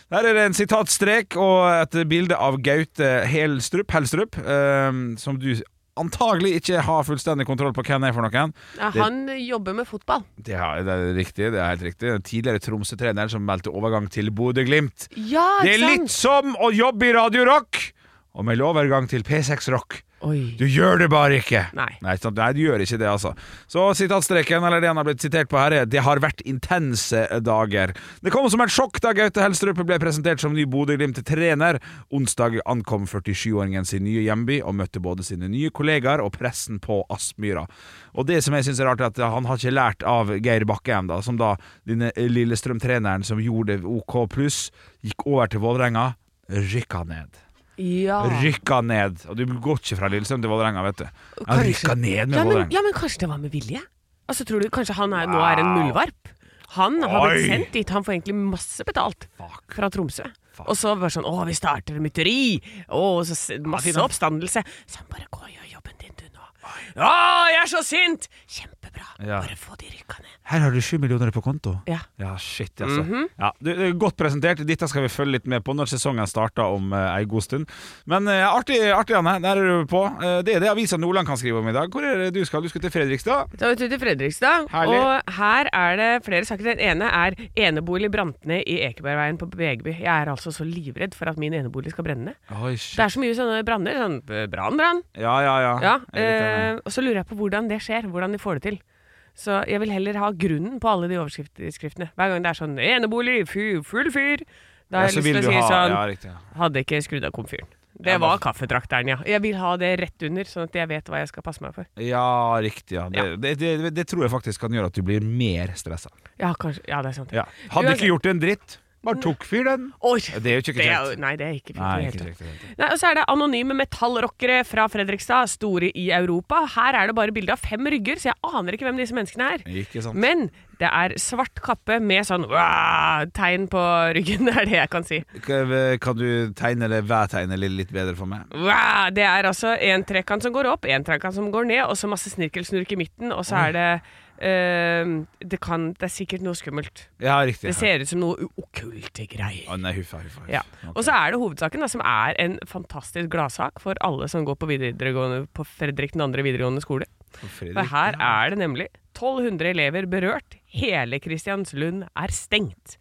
Der er det en sitatstrek og et bilde av Gaute Helstrup, Helstrup eh, som du antagelig ikke har fullstendig kontroll på hvem er for noen.
Ja,
Det-
han jobber med fotball.
Det er, det er riktig, det er helt riktig. Den tidligere Tromsø-treneren som meldte overgang til Bodø-Glimt.
Ja,
Det er
ikke
litt
sant?
som å jobbe i Radio Rock, og melde overgang til P6 Rock. Du gjør det bare ikke!
Nei.
ikke sant? Nei, du gjør ikke det, altså. Så sitatstreken, eller det han har blitt sitert på her, er 'Det har vært intense dager'. Det kom som et sjokk da Gaute Helstrup ble presentert som ny Bodø-Glimt-trener. Onsdag ankom 47-åringen sin nye hjemby og møtte både sine nye kollegaer og pressen på Aspmyra. Og det som jeg syns er rart, er at han har ikke lært av Geir Bakke ennå, som da denne Lillestrøm-treneren som gjorde det OK pluss, gikk over til Vålerenga, rykka ned.
Ja.
Rykka ned. Og du går ikke fra Lillesund til Vålerenga, vet du. Han
Kanskje.
rykka ned med
Ja men,
Vålerenga.
ja, men kanskje det var med vilje? Altså, tror du kanskje han er, nå er en muldvarp? Han har
Oi.
blitt sendt dit. Han får egentlig masse betalt fra Tromsø. Og så bare sånn 'Å, vi starter et mytteri!' Og så s- masse oppstandelse. Så han bare 'Gå og gjør jobben din, du, nå'. 'Å, jeg er så sint!' Kjempebra.
Ja.
Bare få de rykka ned.
Her har du sju millioner på konto.
Ja. Mhm.
Ja, shit, altså. ja, du, det er godt presentert. Dette skal vi følge litt med på når sesongen starter om uh, ei god stund. Men eh, artig, artig, Anne. Der er du på. Eh, det er det avisa Nordland kan skrive om i dag. Hvor er det du skal? Du skal til Fredrikstad?
Da er vi ute til Fredrikstad,
Herlig.
og her er det flere saker. Den ene er enebolig brant ned i Ekebergveien på Begeby. Jeg er altså så livredd for at min enebolig skal brenne ned.
Oi,
Det
shit.
er så mye sånne branner. Sånn eh, brann, brann.
Ja, ja, ja.
Ja,
Ah, Jeg er litt enig.
eh, og så lurer jeg på hvordan det skjer, hvordan de får det til. Så jeg vil heller ha grunnen på alle de overskriftene. Hver gang det er sånn 'enebolig, fy, full fyr', da
Ja,
har
så
jeg lyst
vil
til å
du
si
ha-
sånn
Ja, riktig. ja.
'hadde ikke skrudd av komfyren'. Det
Ja,
var
bare-
kaffetrakteren, ja. Jeg vil ha det rett under, sånn at jeg vet hva jeg skal passe meg for.
Ja, riktig. Ja. Det,
Ja.
Det, det, det tror jeg faktisk kan gjøre at du blir mer stressa.
Ja, kanskje, ja det er sant.
Ja. Hadde
Uansett-
ikke gjort en dritt. Bare tok fyr, den.
Oi,
Det er jo ikke
er jo-
korrekt.
Nei, det er ikke fint. i
Nei,
det hele
ikke
tatt.
riktig. riktig.
Nei, og så er det anonyme metallrockere fra Fredrikstad, store i Europa. Her er det bare bilde av fem rygger, så jeg aner ikke hvem disse menneskene er.
Ikke sant.
Men det er svart kappe med sånn «Wah!» tegn på ryggen, det er det jeg kan si.
K- Kan du tegne det hver tegne litt, litt bedre for meg?
«Wah!» Det er altså en trekant som går opp, en trekant som går ned, og så masse snirkelsnurk i midten, og så er det eh, det, kan, det er sikkert noe skummelt.
Ja, riktig.
Det ser ut som noe u- okkulte greier.
Å, nei, huffa, huffa. huffa.
Ja.
Ok.
Og så er det hovedsaken, da, som er en fantastisk gladsak for alle som går på, videregående, på Fredrik 2. videregående skole.
Og Fredrik-
For her er det nemlig 1200 elever berørt. Hele Kristiansund er stengt.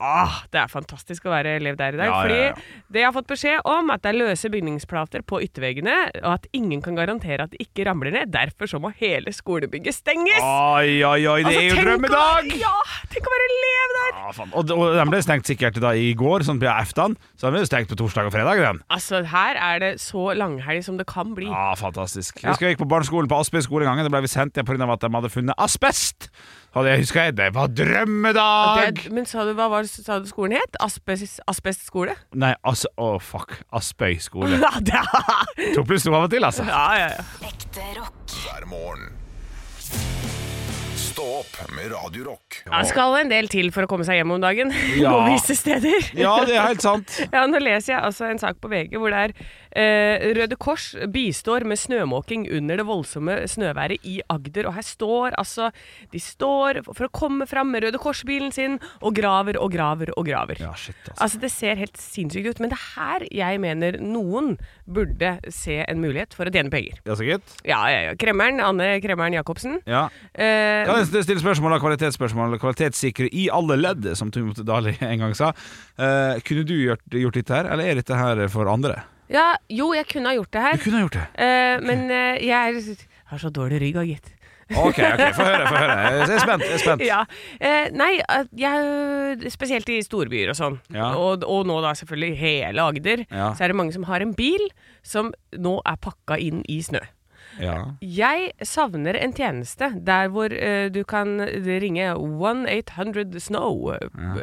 Ah, det er fantastisk å være elev der i dag.
Ja,
fordi
ja, ja.
det jeg har fått beskjed om, at det er løse bygningsplater på ytterveggene, og at ingen kan garantere at det ikke ramler ned. Derfor så må hele skolebygget stenges!
Oi, oi, oi, det
Altså,
er jo
tenk å
drømmedag!
være- Ja! Tenk å være elev der!
Ah, faen. og, og den ble stengt sikkert da i går, sånn på aftan. Så den ble jo stengt på torsdag og fredag, den.
Altså, her er det så langhelg som det kan bli.
Ja, fantastisk.
Ja.
Jeg husker jeg gikk på barneskolen på Aspøy skole en gang. Da ble vi sendt ned pga. at de hadde funnet asbest. Og det husker jeg, det var drømmedag!
Det er, men sa du hva var, sa du skolen het? Asbest, asbestskole?
Nei, altså, å fuck. Aspøy skole.
Ja, det er
To pluss to av og til, altså.
ja, ja, ja.
Ekte rock.
hver morgen. Stå opp med Radio Rock.
Ja, skal en del til for å komme seg hjem om dagen.
Ja.
På visse steder.
Ja, det er helt sant.
Ja, nå leser jeg altså en sak på VG hvor det er eh, Røde Kors bistår med snømåking under det voldsomme snøværet i Agder. Og her står altså De står for å komme fram med Røde Kors-bilen sin og graver og graver og graver.
Ja, shit, altså.
Altså, det ser helt sinnssykt ut, men det er her jeg mener noen burde se en mulighet for å tjene penger.
Ja, så gitt.
Ja, ja, ja. Kremmeren, Anne Kremmeren Jacobsen.
Ja.
Eh,
Kan jeg stille spørsmål og kvalitetsspørsmål kvalitetssikre i alle ledd, som Tumot Dali en gang sa. Eh, kunne du gjort, gjort dette her, eller er dette her for andre?
ja, jo, jeg kunne ha gjort det
Du
her.
kunne ha gjort det.
Eh, Men eh, jeg er, har så dårlig rygg, og gitt.
Ok, ok, få høre. få høre Jeg er spent. jeg er spent
Ja. Eh, nei, at jeg, spesielt i storbyer og sånn,
Ja.
og, og nå da selvfølgelig i hele Agder,
Ja.
så er det mange som har en bil som nå er pakka inn i snø.
Ja.
Jeg savner en tjeneste der hvor eh, du kan ringe 1-800-SNOW,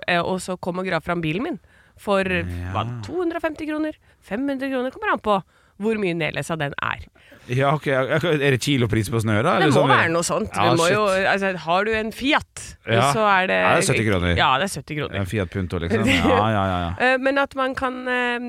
eh, og så kom og grav fram bilen min. For hva, 250 kroner? 500 kroner kommer an på hvor mye nedlesa den er.
ja, ok ok, Er det kilopris på snø, da?
Det
eller
må
sånn?
være noe sånt.
Ja,
du må
shit.
jo, altså, har du en Fiat,
Ja.
så er
Ja,
det
det er 70 kroner.
Ja, det er 70 kroner.
En Fiat Punto, liksom? Ja, ja, ja. ja.
Eh, Men at man kan, eh,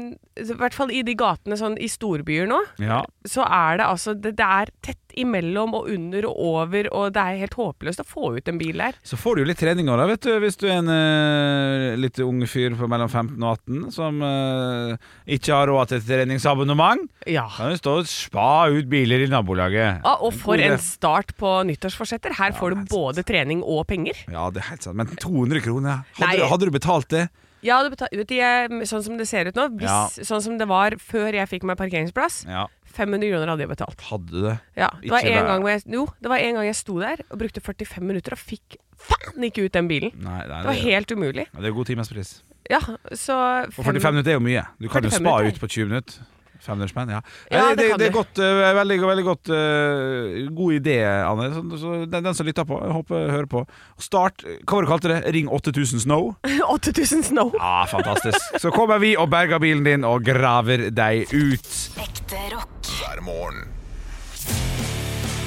i hvert fall i de gatene sånn, i storbyer nå,
ja.
så er det altså det, det er tett imellom og under og over, og det er helt håpløst å få ut en bil der.
Så får du jo litt trening òg, vet du, hvis du er en eh, litt ung fyr på mellom 15 og 18 som eh, ikke har råd til et treningsabonnement.
Ja.
Kan du stå og spa ut biler i nabolaget.
Ah, og for
God idé.
en start på nyttårsforsetter. Her får du både trening og penger.
Ja, det er helt sant. Men 200 kroner, hadde,
Nei.
du, hadde du betalt det?
Ja, du betaler, de er, sånn som det ser ut nå, hvis,
Ja.
sånn som det var før jeg fikk meg parkeringsplass,
Ja,
500 kroner hadde jeg betalt.
hadde du det?
Ja, det var
Ikke
en
det.
gang hvor jeg, jo, det var en gang jeg sto der og brukte 45 minutter og fikk faen ikke ut den bilen.
Nei, nei,
Det var helt umulig.
ja, det er god timespris.
Ja, så
Og
fem-
45 minutter er jo mye. Du kan jo
45
spa
minutter.
ut på 20 minutter. 500 spenn, ja.
Ja,
Nei,
det kan
det er
du.
godt, eh, veldig, veldig godt eh, God idé, Anne. Så, så den, den som lytter på, jeg håper hører på. Start Hva var det du kalte det? Ring 8000 Snow?
8000 snow.
Ja, fantastisk. Så kommer vi og berger bilen din og graver deg ut.
Ekte rock.
hver morgen.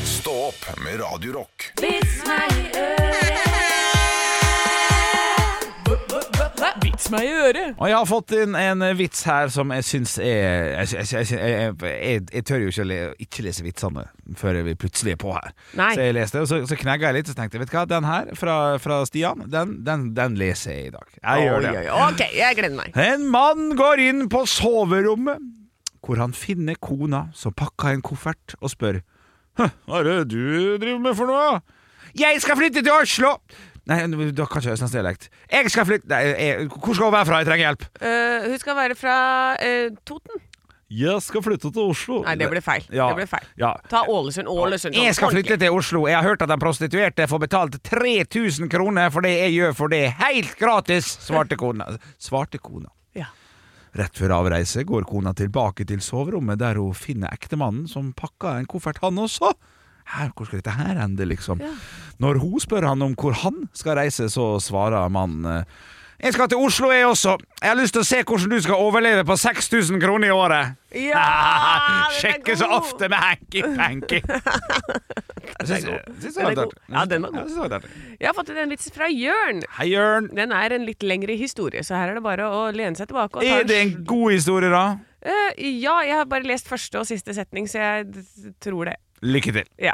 Stå opp med Radio Rock.
Vits meg i øret.
Og jeg har fått inn en eh, vits her som jeg syns er Jeg, jeg, jeg, jeg, jeg, jeg tør jo ikke å le, ikke lese vitsene før vi plutselig er på her.
Nei.
Så jeg leste, og så, så knegga jeg litt og tenkte jeg, vet du hva, den her fra, fra Stian, den, den, den leser jeg i dag. Jeg gjør det.
Ok, jeg gleder meg.
En mann går inn på soverommet, hvor han finner kona som pakker en koffert og spør «Hø, Hva er det du driver med for noe? Jeg skal flytte til Oslo! Nei, da kan ikke Østlandsdialekt. Jeg skal flytte Nei, jeg, hvor skal hun være fra? Jeg trenger hjelp.
Eh, hun skal være fra eh, Toten.
Jeg skal flytte til Oslo.
Nei, det ble feil.
Ja.
Det ble feil.
Ja.
Ta Ålesund. Ålesund.
Jeg skal
Ordentlig.
flytte til Oslo. Jeg har hørt at de prostituerte får betalt 3000 kroner for det jeg gjør, for det er helt gratis, svarte kona. Svarte kona.
Ja.
Rett før avreise går kona tilbake til soverommet, der hun finner ektemannen, som pakker en koffert, han også. Her, hvor skal dette her ende, liksom? Når hun spør han om hvor han skal reise, så svarer mannen eh, Jeg skal til Oslo, jeg også. Jeg har lyst til å se hvordan du skal overleve på 6000 kroner i året.
Ja, den er
Sjekke så
god.
ofte med hanky-panky. den er
Den er god. Ja, den var god. Jeg har fått inn en vits fra Jørn.
Hei, Jørn.
Den er en litt lengre historie, så her er det bare å lene seg tilbake. Og ta
Er det en god historie, da?
Eh, ja, jeg har bare lest første og siste setning, så jeg d- tror det.
Lykke til.
Ja.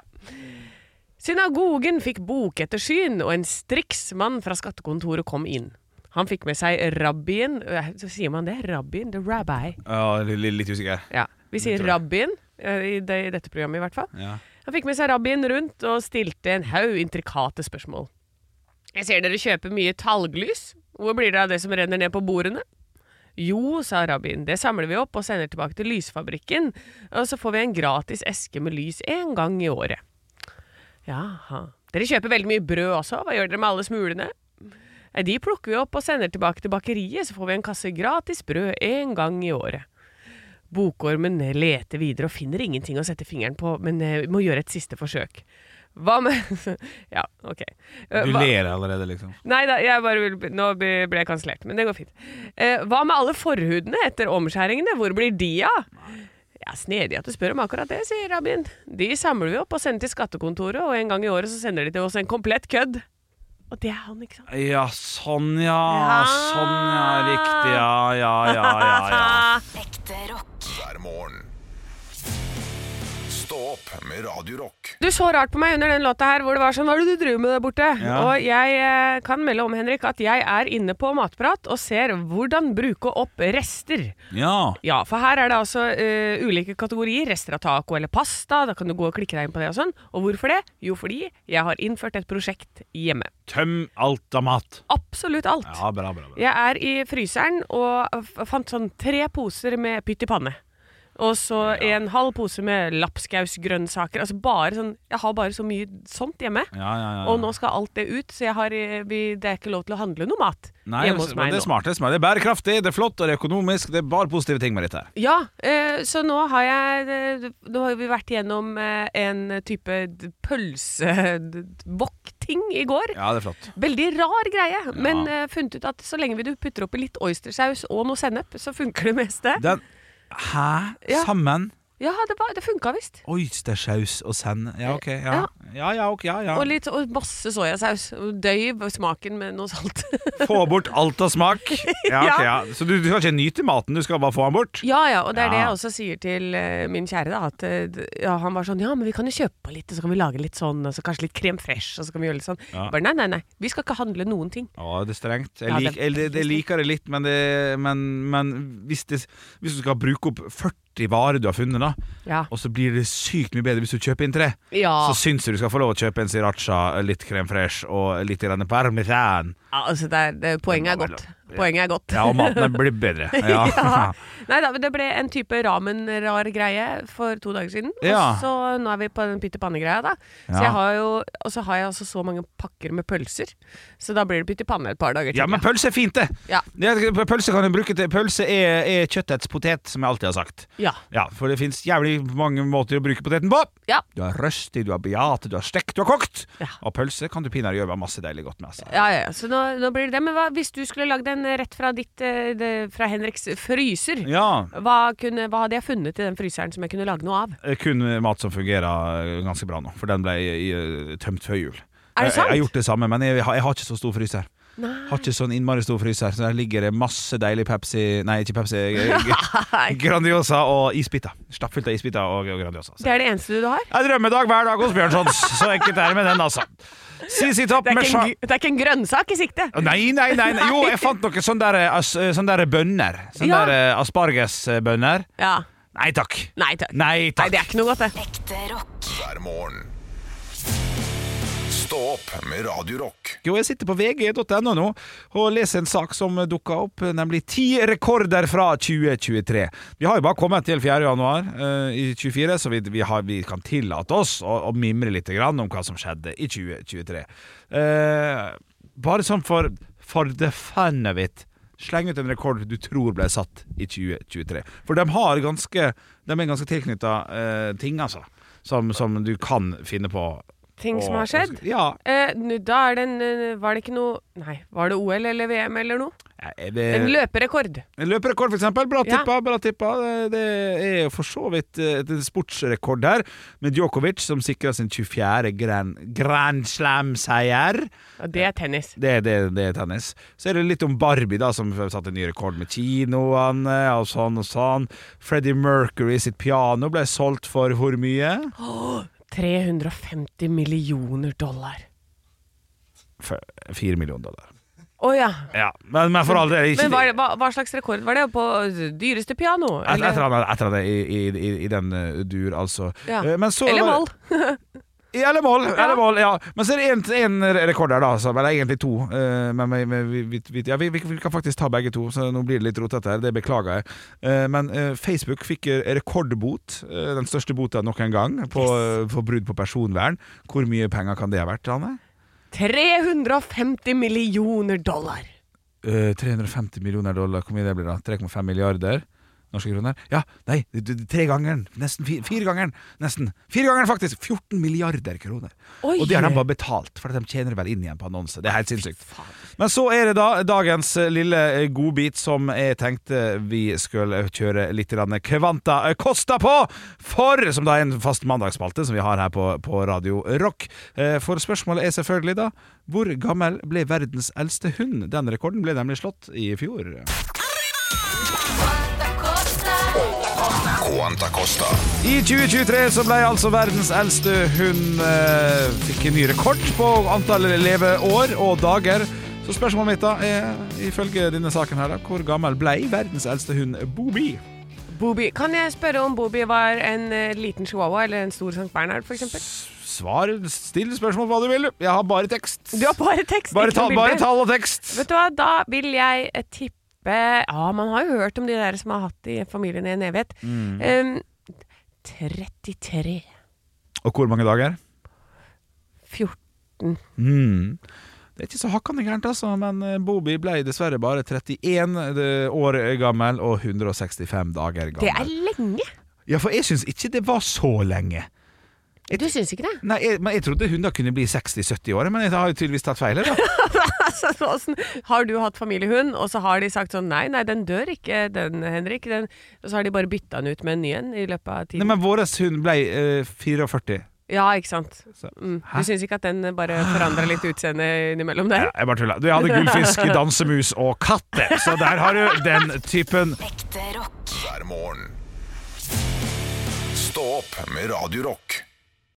Synagogen fikk bokettersyn, og en striksmann fra skattekontoret kom inn. Han fikk med seg rabbien eh, Så sier man det? Rabbien? The rabbi.
Ja, litt, litt usikker.
Ja, Vi sier
tror jeg.
rabbien, eh, i, det, i dette programmet i hvert fall.
Ja.
Han fikk med seg rabbien rundt og stilte en haug intrikate spørsmål. Jeg ser dere kjøper mye talglys. Hvor blir det av det som renner ned på bordene? Jo, sa rabbien, det samler vi opp og sender tilbake til lysfabrikken, og så får vi en gratis eske med lys én gang i året. Jaha. Dere kjøper veldig mye brød også, hva gjør dere med alle smulene? Nei, De plukker vi opp og sender tilbake til bakeriet, så får vi en kasse gratis brød én gang i året. Bokormen leter videre og finner ingenting å sette fingeren på, men eh, må gjøre et siste forsøk. Hva med Ja, OK. Eh,
Du
hva-
ler allerede, liksom.
Nei da, jeg bare vil Nå ble ble jeg kansellert, men det går fint. Eh, hva med alle forhudene etter omskjæringene? Hvor blir de av? Ja, Snedig at du spør om akkurat det, sier rabbien. De samler vi opp og sender til skattekontoret, og en gang i året så sender de til oss en komplett kødd. Og det er han, ikke sant?
Ja, sånn, ja.
Ja.
Sånn, ja. Riktig, ja. Ja, ja, ja. ja.
Ekte rock.
hver morgen. Stå opp med Radio Rock.
Du så rart på meg under den låta her, hvor det var sånn Hva er det du driver med der borte?
Ja.
Og jeg eh, kan melde om, Henrik, at jeg er inne på Matprat og ser hvordan bruke opp rester.
ja.
Ja, for her er det altså eh, ulike kategorier. Rester av taco eller pasta. Da kan du gå og klikke deg inn på det og sånn. Og hvorfor det? Jo, fordi jeg har innført et prosjekt hjemme.
Tøm alt av mat.
Absolutt alt.
Ja, bra, bra. bra.
Jeg er i fryseren og f- fant sånn tre poser med pytt i panne. Og så en halv pose med lapskausgrønnsaker. Altså bare sånn Jeg har bare så mye sånt hjemme.
Ja, ja, ja.
Og nå skal alt det ut, så jeg har, eh, vi, det er ikke lov til å handle noe mat
Nei,
hjemme hos meg
men det er
nå.
smart, det er smart. Det er bærekraftig, det er flott og det er økonomisk. Det er bare positive ting med dette. her
Ja, eh, så nå har jeg eh, Nå har vi vært gjennom eh, en type d- pølse d- wok-ting i går.
Ja, det er flott.
Veldig rar greie, men eh, funnet ut at så lenge du putter oppi litt oystersaus og noe sennep, så funker det meste.
Den Hæ?
Ja.
Sammen?
Ja, det, var- det funka visst.
Oystersaus og send... Ja, OK. Ja.
Ja,
Ja, ja, ok, ja, ja.
Og, litt, og masse soyasaus. Døyv smaken med noe salt.
Få bort alt av smak. Ja, ok, ja.
Ja.
Så du, du skal ikke nyte maten, du skal bare få den bort?
ja ja, og det er det
Ja.
jeg også sier til eh, min kjære, da. At eh, d- ja, han var sånn Ja, men vi kan jo kjøpe på litt, og så kan vi lage litt sånn, og så kanskje litt krem fresh, og så kan vi gjøre litt sånn.
Ja.
Bare nei, nei, nei. Vi skal ikke handle noen ting.
Ja, det er strengt. Jeg,
Ja,
lik,
det er
jeg, jeg,
veldig
liker det litt, men, det, men, men hvis, det, hvis du skal bruke opp 40 varer du har funnet, da,
Ja.
og så blir det sykt mye bedre hvis du kjøper inn tre,
Ja.
så syns jeg du skal få lov å kjøpe en sriracha, litt crème fraîche og litt grann parmesan.
Ja, altså det er, det, poenget er godt. Poenget er godt.
Ja, og maten blir bedre. Ja.
Ja. Nei da, men det ble en type ramen-rar greie for to dager siden.
Ja.
Og så nå er vi på den pytt i panne-greia, da.
Ja.
Så jeg har jo, og så har jeg altså så mange pakker med pølser, så da blir det pytt i panne et par dager til.
Ja, men pølse er fint, det.
Ja.
Det- Pølse kan du bruke til Pølse er, er kjøttets potet, som jeg alltid har sagt.
Ja.
Ja, For det fins jævlig mange måter å bruke poteten på.
Ja.
Du har røstig, du har beate, du har stekt, du har kokt.
Ja.
Og pølse kan du pinadø gjøre masse deilig godt med. Altså.
Ja, ja, ja. Så nå, nå blir det det. Men hva, hvis du skulle lagd en rett fra ditt eh, det, Fra Henriks fryser,
Ja.
hva, kunne, hva hadde jeg funnet i den fryseren som jeg kunne lage noe av?
Eh, Kun mat som fungerer eh, ganske bra nå, for den ble eh, tømt før jul.
Er det
Jeg- Jeg, jeg har
sant?
gjort det samme, men jeg, har- jeg har ikke så stor fryser. Har ikke sånn innmari stor fryser, så der ligger det masse deilig Pepsi Nei, ikke Pepsi. eh, g- grandiosa og isbiter. Stappfullt av isbiter og og Grandiosa.
Det er det eneste du har?
En drømmedag hver dag hos Bjørnsons. Så enkelt er det med den, altså. CC Topp
Det er,
med
ikke
sja...
en, gr- det er ikke en grønnsak i sikte?
Nei, nei, nei, nei. Jo, jeg fant noen sånne der, eh, as, eh, sånne der bønner. Sånne
Ja.
der eh, aspargesbønner.
Ja.
Nei takk.
Nei takk.
Nei
Nei,
takk.
det er ikke noe godt, det.
Ekte rock.
hver morgen. Stå opp med Radio Rock.
Jo, jeg sitter på vg.no nå og leser en sak som dukka opp, nemlig ti rekorder fra 2023. Vi har jo bare kommet til 4. januar eh, i 24, så vi, vi, har, vi kan tillate oss å, å mimre litt grann om hva som skjedde i 2023. Eh, bare sånn for, for the fun of it. Sleng ut en rekord du tror ble satt i 2023. For de, har ganske, de er ganske tilknytta ting, altså. Som, som du kan finne på.
Ting som
å-
har skjedd?
Ja.
Eh, nu- da er det en, eh, var det ikke noe Nei, var det OL eller VM eller noe?
Jeg-
En løperekord.
En løperekord, for eksempel. Bra
Ja.
tippa. bra tippa. Det- Det er jo for så vidt eh, et sportsrekord her, med Djokovic som sikrer sin 24. Grand, grand Slam-seier.
Ja, det er tennis.
Det, er- det, er- det er tennis. Så er det litt om Barbie, da, som satte en ny rekord med kinoene og sånn og sånn. Freddie Mercury sitt piano ble solgt for hvor mye?
350 millioner dollar.
For Fire millioner dollar.
Å ja.
Ja, men, men for all del ikke
Men hva, hva, hva slags rekord var det? På eh, dyreste piano?
Et et eller
Eller,
annet, et eller annet i, i, i, i den eh, dur, altså.
Ja.
Eh, Men så
eller
var-
mål?
I alle mål, ja. alle mål, ja. Men så er det én rekord der, da. altså. Så, eller egentlig to. eh, men men- men vi, vi, vi, ja, vi, vi vi kan faktisk ta begge to, så nå blir det litt rotete her. Det beklager jeg. Eh, men eh, Facebook fikk eh, rekordbot, eh, den største bota noen gang, på, eh, for brudd på personvern. Hvor mye penger kan det ha vært, Anne?
350 millioner dollar!
Eh, 350 millioner dollar, hvor mye det blir da? 3,5 milliarder norske kroner? Ja, nei, d- d- tregangeren. Nesten fi- firegangeren. Nesten. Firegangeren, faktisk! 14 milliarder kroner.
Oi!
Og det har de bare betalt, for de tjener vel inn igjen på annonse. Det er helt sinnssykt. Men så er det da dagens eh, lille eh, godbit som jeg tenkte vi skulle eh, kjøre litt grann Kvanta eh, Kosta på! For, som da er en fast mandagsspalte som vi har her på, på Radio Rock. Eh, For spørsmålet er selvfølgelig da hvor gammel ble verdens eldste hund? Den rekorden ble nemlig slått i fjor.
Quanta Costa.
I 2023 så ble altså verdens eldste hund eh, Fikk en ny rekord på antall leveår og dager. Så spørsmålet mitt da er, ifølge denne saken her, da, hvor gammel ble verdens eldste hund Bobi?
Bobi. Kan jeg spørre om Bobi var en eh, liten chihuahua eller en stor Sankt Bernhard, f.eks.?
Svar, still spørsmål hva du vil. Jeg har bare tekst.
Du har bare tekst,
bare,
ikke
ta,
noe bilde.
bare tall og tekst.
Vet du hva, da vil jeg eh, tippe Ja, man har jo hørt om de der som har hatt i familien i en evighet.
Mm.
Ehm, 33
Og hvor mange dager?
14
Mm. Det er ikke så hakkande gærent, altså, men eh, Bobi ble dessverre bare 31 år gammel og 165 dager gammel.
Det er lenge!
Ja, for jeg syns ikke det var så lenge.
Du syns ikke det?
Nei, jeg, men jeg trodde hunder kunne bli 60-70 år, men jeg har jo tydeligvis tatt feil. her, Da.
Altså, sånn, har du hatt familiehund, og så har de sagt sånn Nei, nei, den dør ikke, den Henrik. Den, og så har de bare bytta den ut med en ny en i løpet av
Nei,
tiden.
men vår hund ble eh, 44
Ja, ikke sant.
Så,
Mm.
hæ?
Du syns ikke at den bare forandra litt utseende innimellom der?
Ja, jeg bare tuller. Du, jeg hadde gullfisk, dansemus og katte, så der har du den typen.
Ekte rock.
hver morgen. Stå opp med Radio Rock.